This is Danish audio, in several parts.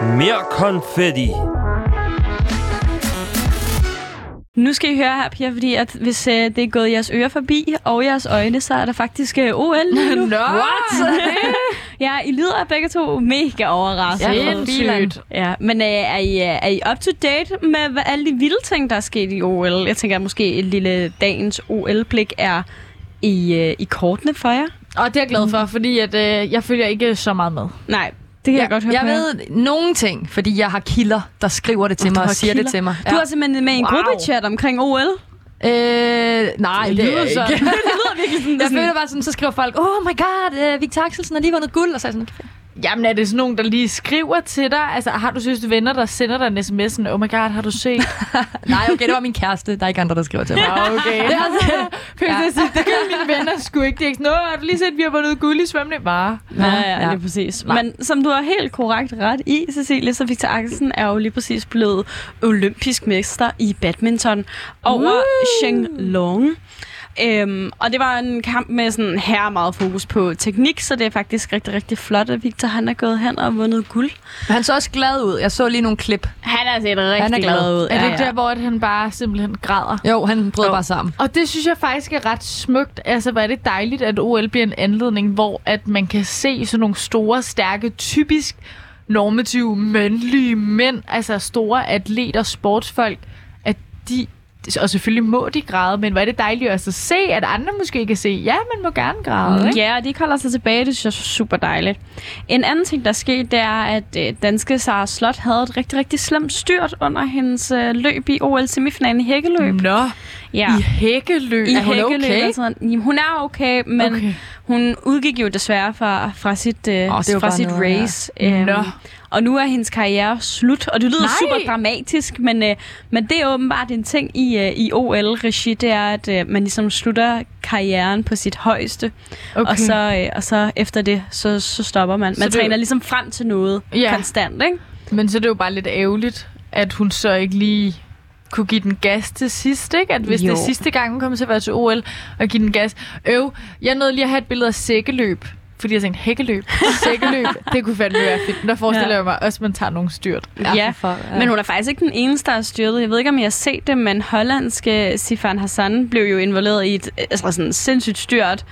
Mere konfetti. Nu skal I høre her, Pia, fordi at hvis øh, det er gået jeres ører forbi og jeres øjne, så er der faktisk øh, OL lige nu. Nå, Ja, I lyder begge to mega overrasket. Ja, helt sygt. Ja, men øh, er, I, øh, er I up to date med hvad, alle de vilde ting, der er sket i OL? Jeg tænker, at måske et lille dagens OL-blik er i, øh, i kortene for jer. Og det er jeg glad for, fordi at, øh, jeg følger ikke så meget med. Nej, det kan jeg godt høre jeg på jer. ved nogle ting, fordi jeg har kilder, der skriver det til Og mig du og har siger kilder. det til mig. Du har simpelthen med i en Wow. gruppechat omkring OL. Øh, nej, det, det er lyder jeg sådan. ikke. Det lyder virkelig sådan, Jeg føler bare sådan, så skriver folk, oh my god, uh, Victor Axelsen har lige vundet guld, og så er jeg sådan, Jamen, er det sådan nogen, der lige skriver til dig? Altså, har du synes venner, der sender dig en sms? Sådan, oh my god, har du set? nej, okay, det var min kæreste, der er ikke andre, der skriver til mig. Ah, okay. det er altså, ja. at sige, det kan mine venner sgu ikke. Det er ikke sådan, "Nå, har du lige set, vi har vundet guld i svømning? Bare. Ja, ja, ja, Ja. lige præcis. Men som du har helt korrekt ret i, Cecilie, så Victor Axelsen er jo lige præcis blevet olympisk mester i badminton over Sheng Long. Øhm, og det var en kamp med sådan her meget fokus på teknik, så det er faktisk rigtig, rigtig flot, at Victor han er gået hen og vundet guld. Men han så også glad ud. Jeg så lige nogle klip. Han er set rigtig Han er glad. glad ud. Er det ikke der, hvor at han bare simpelthen græder? Jo, han brød bare sammen. Og det synes jeg faktisk er ret smukt. Altså, hvor er det dejligt, at OL bliver en anledning, hvor at man kan se sådan nogle store, stærke, typisk normative, mandlige mænd, altså store atleter, sportsfolk, at de og selvfølgelig må de græde, men hvor er det dejligt også at se, at andre måske kan se, ja, man må gerne græde, ikke? Mm, Ja, og de ikke holder sig tilbage, det synes jeg er super dejligt. En anden ting, der skete, det er, at øh, danske Sara Slot havde et rigtig, rigtig slemt styrt under hendes øh, løb i OL-semifinalen i hækkeløb. Nå, Ja. Mm. i hækkeløb. I Er hun hækkeløb okay? og sådan. noget. Jamen, hun er okay, men okay. Okay. hun udgik jo desværre fra, fra sit, øh, var fra bare sit nederen, ja. race. Øhm, Nå. og nu er hendes karriere slut, og det lyder Nej. super dramatisk, men, øh, men det er åbenbart en ting i, øh, i OL-regi, det er, at øh, man ligesom slutter karrieren på sit højeste, okay. og, så, øh, og så efter det, så, så stopper man. Så Man det- træner ligesom frem til noget Ja. konstant, ikke? Men så er det jo bare lidt ærgerligt, at hun så ikke lige kunne give den gas til sidst, ikke? At hvis jo. det er Jo. sidste gang, hun kommer til at være til OL og give den gas. Øv, jeg nåede lige at have et billede af sækkeløb. Fordi jeg tænkte, hækkeløb, sækkeløb, det kunne fandme være fedt. Men Der forestiller Ja. ja. jeg mig også, at man tager nogle styrt. Ja, for, ja. Men hun er faktisk ikke den eneste, der er styrtet. Jeg ved ikke, om I har set det, men hollandske Sifan Hassan blev jo involveret i et altså sådan sindssygt styrt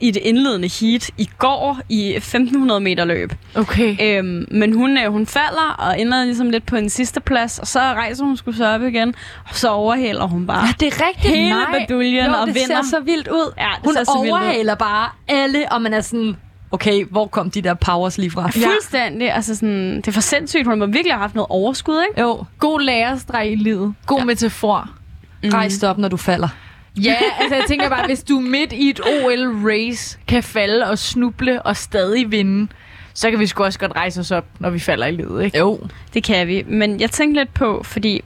i det indledende heat i går i 1500 meter løb. Okay. Øhm, men hun, øh, hun falder og ender ligesom lidt på en sidste plads, og så rejser hun skulle så op igen, og så overhaler hun bare det er rigtigt. hele baduljen jo, og det vinder. ser så vildt ud. Ja, det Hun Altså, ser så vildt ud. overhaler bare alle, og man er sådan, okay, hvor kom de der powers lige fra? Ja. Fuldstændig. Altså sådan, det er for sindssygt. Hun må virkelig have haft noget overskud, ikke? Jo, God lærerstreg i livet. God ja. metafor. Mm. rejs dig op, når du falder. Ja, altså jeg tænker bare, hvis du midt i et OL-race kan falde og snuble og stadig vinde, så kan vi sgu også godt rejse os op, når vi falder i livet, ikke? Jo. Det kan vi, men jeg tænkte lidt på, fordi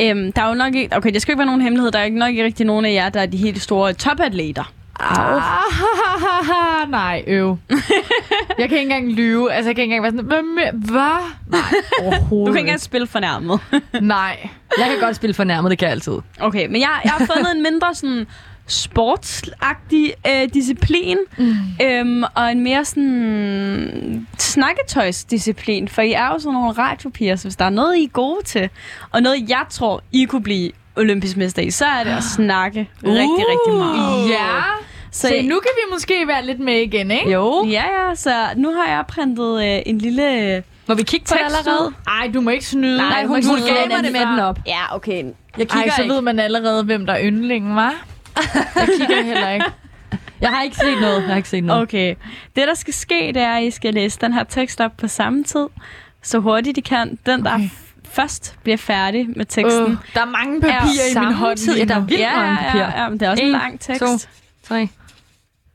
øhm, der er jo nok ikke, okay, det skal jo ikke være nogen hemmelighed, der er ikke nok ikke rigtig nogen af jer, der er de helt store topatleter. Ah, nej, øv. jeg kan ikke engang lyve. Altså, jeg kan ikke engang være sådan, hvad? med- Hvad? Nej, overhovedet Du kan ikke engang spille fornærmet. ikke. Nej. Jeg kan godt spille fornærmet, det kan jeg altid. Okay, men jeg, jeg har fundet en mindre sådan sportsagtig øh, disciplin, mm. øhm, og en mere sådan snakketøjsdisciplin, for I er jo sådan nogle radiopiger, så hvis der er noget, I er gode til, og noget, jeg tror, I kunne blive olympisk mester i, så er det at snakke uh. rigtig, rigtig meget. Uh. Ja. Så, Så nu kan vi måske være lidt med igen, ikke? Jo. Ja, ja, så nu har jeg printet øh, en lille øh, Må vi kigge på det tekst allerede? ud. Ej, du må ikke snyde. Nej, Nej, hun hun, hun kigger gav mig den det med fra. den op. Ja, okay. Jeg Ej, kigger så ikke. ved man allerede, hvem der er yndlingen, var. Jeg kigger heller ikke. Jeg har ikke set noget. Jeg har ikke set noget. Okay. Det, der skal ske, det er, at I skal læse den her tekst op på samme tid, så hurtigt I kan. Den, der Okay. f- først bliver færdig med teksten, Øh, der er mange papirer i min hånd samtidig. lige Ja, der er nu. vildt ja, mange ja, papirer. ja, ja, men det er også en, En, lang tekst. to, tre.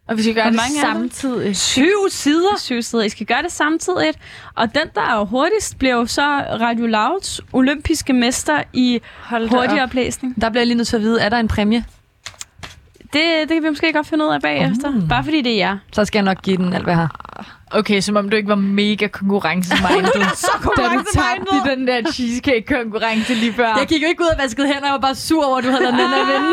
Og vi skal gøre Hvor det mange er der? samtidig. Syv sider? Syv sider. I skal gøre det samtidig. Og den, der er jo hurtigst, bliver jo så Radio Louds olympiske mester i Hold da hurtig op. oplæsning. Der bliver jeg lige nødt til at vide, er der en præmie? Det, det kan vi måske godt finde ud af bagefter. Bare fordi det er jer. Så skal jeg nok give den alt, hvad jeg har. Okay, som om du ikke var mega konkurrencemindet. så Da du tabte konkurrencemindet. i den der cheesecake-konkurrence lige før. Jeg gik jo ikke ud og vaskede hænder, jeg var bare sur over, at du havde lavet Nana vinde.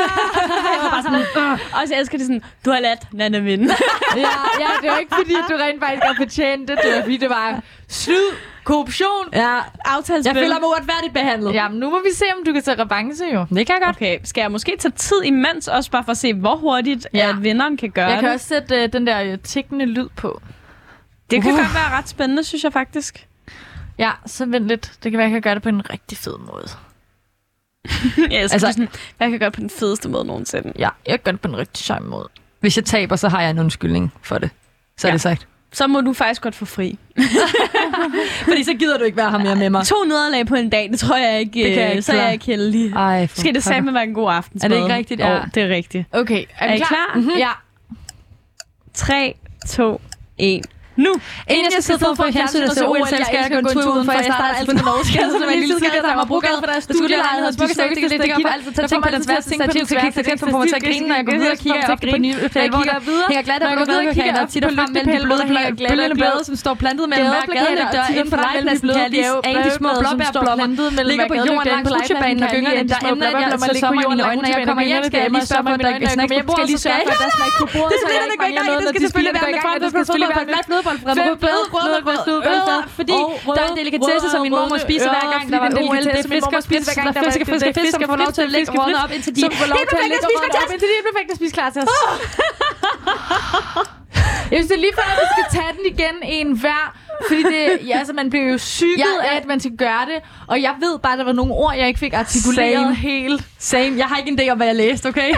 Og så elsker det sådan, du har ladt Nana vinde. ja, ja, det var ikke fordi, du rent faktisk har fortjent det. Det var fordi, det var snyd, korruption. Ja, Aftalespil. jeg føler mig uretfærdigt behandlet. Jamen, nu må vi se, om du kan tage revanche jo. Det kan jeg godt. Okay, skal jeg måske tage tid imens, også bare for at se, hvor hurtigt Ja. ja. at vinderen kan gøre Jeg kan det? også sætte øh, den der øh, tikkende lyd på. Det kan Uh. godt være ret spændende, synes jeg faktisk. Ja, så vent lidt. Det kan være, jeg kan gøre det på en rigtig fed måde. jeg elsker Altså- altså, sådan, hvad jeg kan gøre på den fedeste måde nogensinde. Ja, jeg gør det på en rigtig sjov måde. Hvis jeg taber, så har jeg en undskyldning for det. Så er Ja. det sagt. Så må du faktisk godt få fri. Fordi så gider du ikke være her mere med mig. To nederlag på en dag, det tror jeg ikke, Det kan øh, jeg ikke så er jeg klare. ikke heldig. Ej, for Skal det pokker. sammen være en god aften? Er det ikke rigtigt? Ja. Ja. det er rigtigt. Okay, er, Er I klar? Mhm. Ja. 3, 2, 1. Nu! Inden jeg skal sidde for på fjernsyn og se OL, selv skal jeg gå en tur udenfor. Jeg starter altid på Norge Skade, så jeg lille tidligere, der var brugade for deres studielejlighed. De smukke stykker, det gør for altid. Så tænker på den sværeste ting, til at kigge til på mig til at grine, når jeg går videre og kigger op på den nye plan, hvor der hænger glatte og bløde plakater, tit og frem mellem de bløde bølgende blade, som står plantet mellem hver gadelygter. Inden for legepladsen kan jeg lige ane de små blåbærblommer, ligger på jorden langs rutsjebanen og gyngerne, der ender jeg altid sommer i mine øjne, når jeg kommer hjem, skal jeg lige sørge for, at der ikke er snack, skal jeg lige sørge for, at der er snack på bordet, så jeg ikke mangler noget, når de spiser går i gang, og det skal selvfølgelig være glat nødbold fra Fem bløde, bløde, bløde, bløde, fordi der er en delikatesse, som min mormor spiser hver gang, der var en OL, det er fisker, fisker, fisker, fisker, fisker, får lov til at lægge rådene op, indtil de Som får lov til at perfekt lægge rådene op, indtil de er perfekt at spise klar til os. Jeg synes, det er lige før, at vi skal tage den igen en hver. Fordi det, ja, altså, man bliver jo syget Ja, ja, ja. af, at man skal gøre det. Og jeg ved bare, at der var nogle ord, jeg ikke fik artikuleret Same. helt. Same, jeg har ikke en idé om, hvad jeg læste, okay? Ej,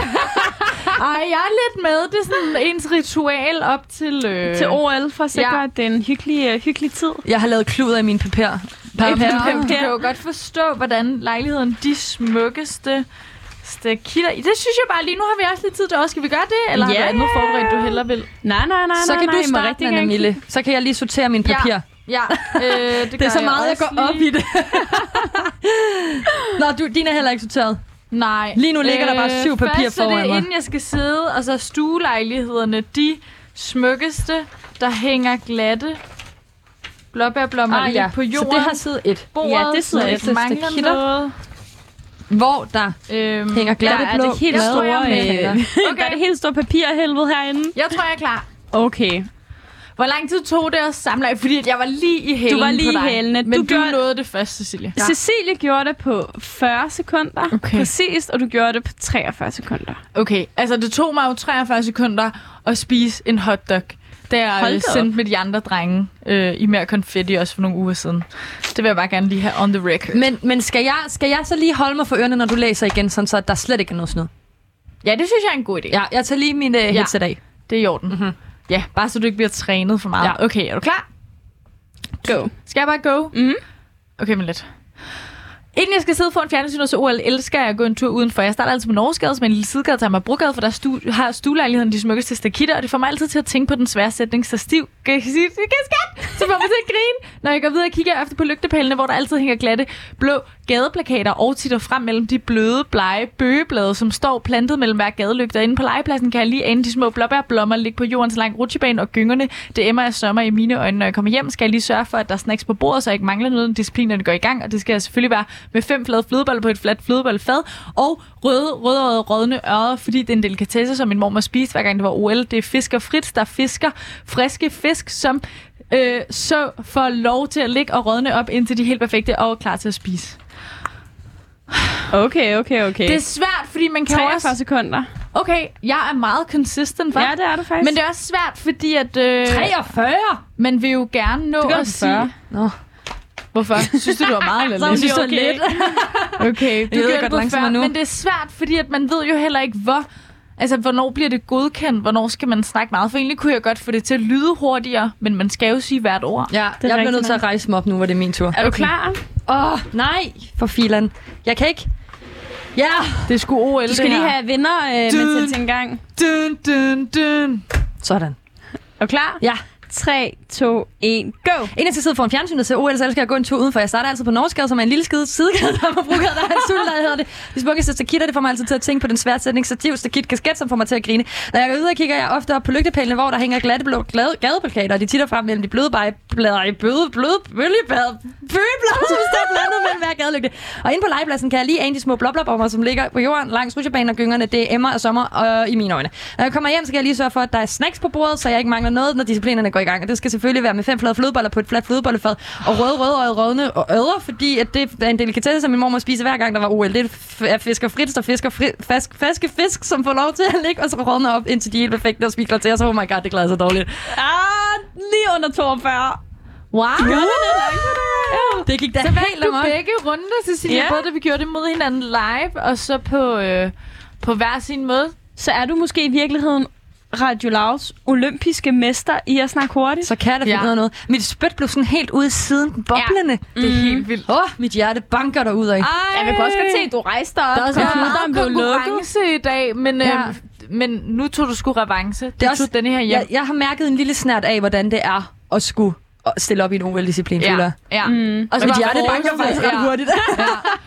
jeg er lidt med. Det er sådan ens ritual op til... Øh... Til OL, for at sikre, Ja. ja. at det er en hyggelig, øh, hyggelig tid. Jeg har lavet kluder i min papir. Pam, Pam, Du pam. kan jo godt forstå, hvordan lejligheden de smukkeste ste- kilder. Det synes jeg bare lige nu har vi også lidt tid til også. Skal vi gøre det? Eller yeah. er Ja. der andet forberedt, du heller vil? Nej, nej, nej, Så nej, kan nej, du I må starte, rigtig Anna gerne Mille. Så kan jeg lige sortere min Ja. papir. Ja, øh, det, Det er så meget, jeg går op i det. Nå, du, din er heller ikke sorteret. Nej. Øh, Lige nu ligger der bare syv papirer først er det, foran mig. inden jeg skal sidde, og så er stuelejlighederne de smukkeste, der hænger glatte blåbærblommer ah, ja. på jorden. Så det har siddet et. bordet, Ja, det sidder som jeg ikke til mangler stikitter. noget. Hvor der Øhm, hænger glatte Der er blå. det helt blade store, over, øh, øh, Okay. Der er det helt store papirhelvede herinde. jeg tror, jeg er klar. Okay. Hvor lang tid tog det at samle? jer? Fordi at jeg var lige i hælene var lige på dig. i hælene. Men du, Du du gjorde- nåede det først, Cecilie. Ja. Cecilie gjorde det på 40 sekunder. Okay. Præcis, og du gjorde det på 43 sekunder. Okay, altså det tog mig jo 43 sekunder at spise en hotdog, da jeg Hold øh, da op. sendte med de andre drenge øh, i mere konfetti også for nogle uger siden. Det vil jeg bare gerne lige have on the record. Men, men skal, jeg, skal jeg så lige holde mig for ørerne, når du læser igen, sådan så at der slet ikke er noget snyd? Ja, det synes jeg er en god idé. Ja, jeg tager lige min øh, headset af. Det er i orden. Mhm. Ja, bare så du ikke bliver trænet for meget. Ja. Okay, er du klar? Go. Skal jeg bare go? Mhm. Okay, men lidt. Inden jeg skal sidde foran fjernsyn og så OL, elsker jeg at gå en tur udenfor. Jeg starter altid på Norgesgade, som er en lille sidegade, der har mig brugade, for der stu- har stuelejligheden de smukkeste stakitter, og det får mig altid til at tænke på den svære sætning, så stiv kan jeg sige, det kan jeg skat, så får mig til at grine. Når jeg går videre og kigger efter på lygtepælene, hvor der altid hænger glatte blå gadeplakater og titter frem mellem de bløde, blege bøgeblade, som står plantet mellem hver gadelygte. Og Inde på legepladsen kan jeg lige ane de små blåbærblommer ligge på jordens lang rutsjebane og gyngerne. Det emmer af sommer i mine øjne. Når jeg kommer hjem, skal jeg lige sørge for, at der er snacks på bordet, så jeg ikke mangler noget, disciplinerne går i gang. Og det skal jeg selvfølgelig være med fem flade flødeboller på et fladt flødebollefad og røde, rødøjede, rødne ører, fordi det er en delikatesse, som min mor spiste, hver gang det var OL. Det er fisker frit, der fisker friske fisk, som øh, så får lov til at ligge og rådne op, indtil de er helt perfekte og er klar til at spise. Okay, okay, okay. Det er svært, fordi man kan jo 43 også... sekunder. Okay, jeg er meget consistent, hva'? Ja, det er det faktisk. Men det er også svært, fordi at... Øh, 43? man vil jo gerne nå Du gør at det på sige... 40. Nå. Hvorfor? Synes du, du var meget eller Så er lidt? Jeg synes, det er okay. lidt. Okay, du ved gør godt det på 40, langsommere nu. men det er svært, fordi at man ved jo heller ikke, hvor... Altså, hvornår bliver det godkendt? Hvornår skal man snakke meget? For egentlig kunne jeg godt få det til at lyde hurtigere, men man skal jo sige hvert ord. Ja, er jeg bliver rigtig nødt til at rejse mig op nu, hvor det er min tur. er du klar? Åh, oh, nej, for filan. Jeg kan ikke. Ja, Det er sgu OL, Du skal det lige her. have vinder øh, Dun. med til en gang. Dun, dun, dun. sådan. Er du klar? Ja. 3, 3, 2, 1, go! Inden jeg skal sidde foran fjernsynet og se OL, så elsker jeg at gå en tur udenfor. Jeg starter altid på Norskade, som er en lille skide sidegade, der er brugt, der er en sultlad, hedder det. De smukke stakitter, det får mig altid til at tænke på den svære sætning, stativ, stakit, kasket, som får mig til at grine. Når jeg er ude og kigger, jeg ofte op på lygtepælene, hvor der hænger glatte blå glade, gadeplakater, og de titter frem mellem de bløde bejblader i bløde, bløde, bølgebad, bølgeblader, som står blandet mellem hver gadelygte. Og inde på legepladsen kan jeg lige ane de små blåblåbomber, som ligger på jorden langs rutsjebanen og gyngerne. Det er emmer og sommer og i mine øjne. Når jeg kommer hjem, så kan jeg lige sørge for, at der er snacks på bordet, så jeg ikke mangler noget, når disciplinerne går i gang. Og det skal selvfølgelig være med fem flade flødeboller på et fladt flødebollefad og røde, røde og rødne og ødder, fordi at det er en delikatesse, som min mor spiser hver gang, der var OL. Det er fisker frit, der fisker fri, fask, faske fisk, som får lov til at ligge og så rådne op, indtil de er helt perfekte og spikler til, og så, oh my god, det glæder så dårligt. Ah, lige under 42. Wow! det, det gik da så helt vandt du amok. begge runder, Cecilia. Ja. Yeah. Både da vi gjorde det mod hinanden live, og så på, øh, på hver sin måde. Så er du måske i virkeligheden Radio Lauts olympiske mester i at snakke hurtigt? Så kan jeg da finde Ja. ud af noget. Mit spyt blev sådan helt ude i siden boblende. Åh, Det er Mm. helt vildt. ja. oh, mit hjerte banker derudad. af. Ej. Jeg vil også godt se, at du rejste dig op. Der er også Der Ja. er Computeren meget blev lukket. konkurrence i dag, men, Ja. ja. øh, men nu tog du sgu revanche. Du Det er det også- også, tog denne her hjem. Jeg, jeg har mærket en lille snært af, hvordan det er at skulle øh, stille op i en OL-disciplin, føler jeg. ja. Mm. Og så Mit bare hjerte banker forestil- faktisk ret hurtigt. Ja.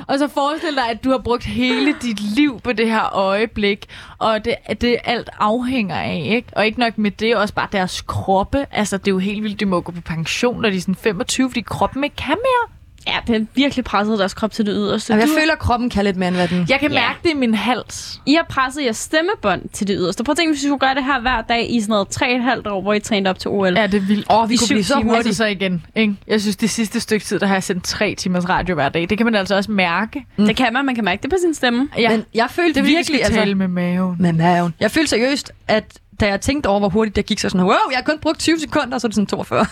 Og så forestil dig, at du har brugt hele dit liv på det her øjeblik, og det, at det alt afhænger af, ikke? Og ikke nok med det, også bare deres kroppe. Altså, det er jo helt vildt, de må gå på pension, når de er sådan 25, fordi kroppen ikke kan mere. Ja, det har virkelig presset deres krop til det yderste. Jamen, jeg Du- føler, at kroppen kan lidt mere, end hvad den... Jeg kan Ja. ja. mærke det i min hals. I har presset jeres stemmebånd til det yderste. Prøv at tænke, hvis vi skulle gøre det her hver dag i sådan noget 3,5 år, hvor I trænede op til OL. Ja, det er vildt. Åh, oh, vi I kunne syv blive så timer, hurtigt. Altså så igen, ikke? Jeg synes, det sidste stykke tid, der har jeg sendt tre timers radio hver dag. Det kan man altså også mærke. Det kan man, man kan mærke det på sin stemme. Ja, Men jeg følte det er virkelig virkelig... tale altså... med maven. med maven. Jeg følte seriøst, at da jeg tænkte over, hvor hurtigt det gik, så sådan, wow, jeg har kun brugt 20 sekunder, og så er det sådan 42.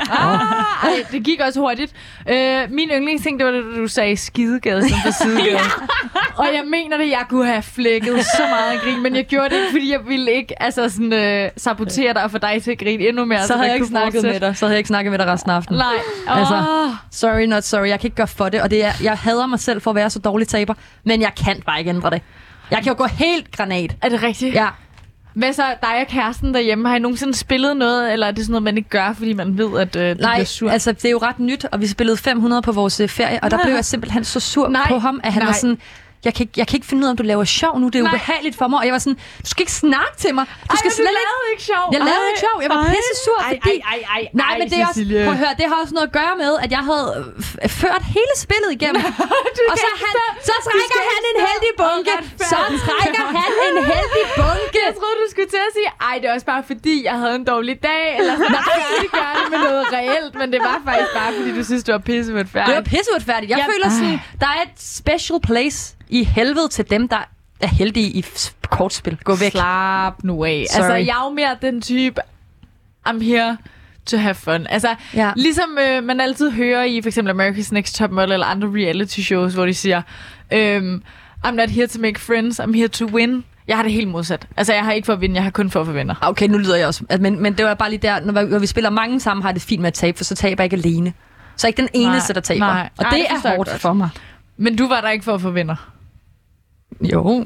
Ah, ej, det gik også hurtigt. Øh, min yndlingsting, det var det, du sagde skidegade som for sidegade. Og jeg mener det, jeg kunne have flækket så meget af grin, men jeg gjorde det ikke, fordi jeg ville ikke altså sådan, øh, sabotere dig og få dig til at grine endnu mere. så havde der jeg ikke kunne snakket med fortsætte. dig. Så havde jeg ikke snakket med dig resten af aftenen. Nej. Oh. Altså. Altså. Sorry, not sorry. Jeg kan ikke gøre for det, og det er, jeg hader mig selv for at være så dårlig taber, men jeg kan bare ikke ændre det. Jeg kan jo gå helt granat. Er det rigtigt? Ja, Hvad så dig og kæresten derhjemme? Har I nogensinde spillet noget, eller er det sådan noget, man ikke gør, fordi man ved, at øh, du nej, bliver sur? altså det er jo ret nyt, og vi spillede 500 på vores øh, ferie, og der blev jeg simpelthen så sur nej, Nej, på ham, at han nej. nej. var sådan, jeg kan, ikke, jeg kan ikke finde ud af, om du laver sjov nu, det er Nej. ubehageligt for mig, og jeg var sådan, du skal ikke snakke til mig, du skal men slet ikke lavede ikke sjov. Jeg lavede ikke sjov. Jeg var pisse sur, fordi... ej, ej, ej, Nej, men det er også... Cecilie. Prøv at høre, det har også noget at gøre med, at jeg havde øh, f- ført hele spillet igennem. og så, han, så trækker han en heldig bunke. Så trækker han en heldig bunke. Jeg troede, du skulle til at sige, ej, det er også bare fordi, jeg havde en dårlig dag, eller sådan, nej, jeg ikke gøre det med noget reelt, men det var faktisk bare, fordi du synes, du var pisse med et Det var pisseudfærdigt. Jeg Jeg- føler sådan, der er et special place i helvede til dem, der er heldige i f- kortspil. Gå væk. Slap nu af. Sorry. Sorry. Altså, jeg er jo mere den type, I'm here to have fun. Altså, Ja. ligesom øh, man altid hører i for eksempel America's Next Top Model eller andre reality shows, hvor de siger, øhm, I'm not here to make friends, I'm here to win. Jeg har det helt modsat. Altså, jeg har ikke for at vinde, jeg har kun for at få venner. Ah, Okay, nu lyder jeg også. at- Men, men det var bare lige der, når vi, når vi spiller mange sammen, har jeg det fint med at tabe, for så taber jeg ikke alene. Så er jeg ikke den Nej, eneste, der taber. nej. Og Ej, det, det forstår er jeg hårdt godt. for mig. Men du var der ikke for at få venner. Jo.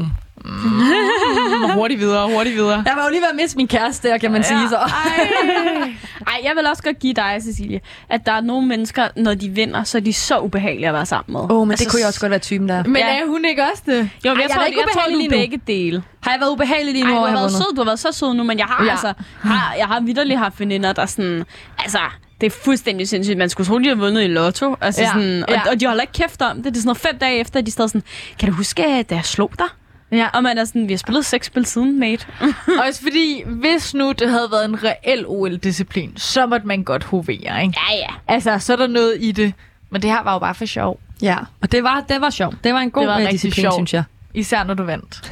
Hurtigt videre, hurtigt videre. Jeg var jo lige ved at miste min kæreste, der, kan man ja. sige så. Ej, jeg vil også godt give dig, Cecilie, at der er nogle mennesker, når de vinder, så er de så ubehagelige at være sammen med. Åh, oh, men altså, det kunne jeg også godt være typen der. Men Ja. er hun ikke også det? Jo, men jeg, Ej, jeg tror, er jeg, ikke jeg tror, ubehagelig du lige er nu. begge dele. Har jeg været ubehagelig lige Ej, nu? du hvor har jeg været vundet? sød, du har været så sød nu, men jeg har Ja. ja. altså, har, jeg har vidderligt haft veninder, der sådan, altså, det er fuldstændig sindssygt. Man skulle tro, de har vundet i lotto. Altså ja. Ja. sådan, og, Ja. og, de holder ikke kæft om det. Det er sådan noget fem dage efter, at de stadig sådan, kan du huske, at jeg slog dig? Ja. Og man er sådan, vi har spillet seks spil siden, mate. Også fordi, hvis nu det havde været en reel OL-disciplin, så måtte man godt hovere, ikke? Ja, ja. Altså, så er der noget i det. Men det her var jo bare for sjov. Ja, og det var, det var sjovt. Det var en god Det var øh, rigtig disciplin, sjovt. synes jeg. Især når du vandt.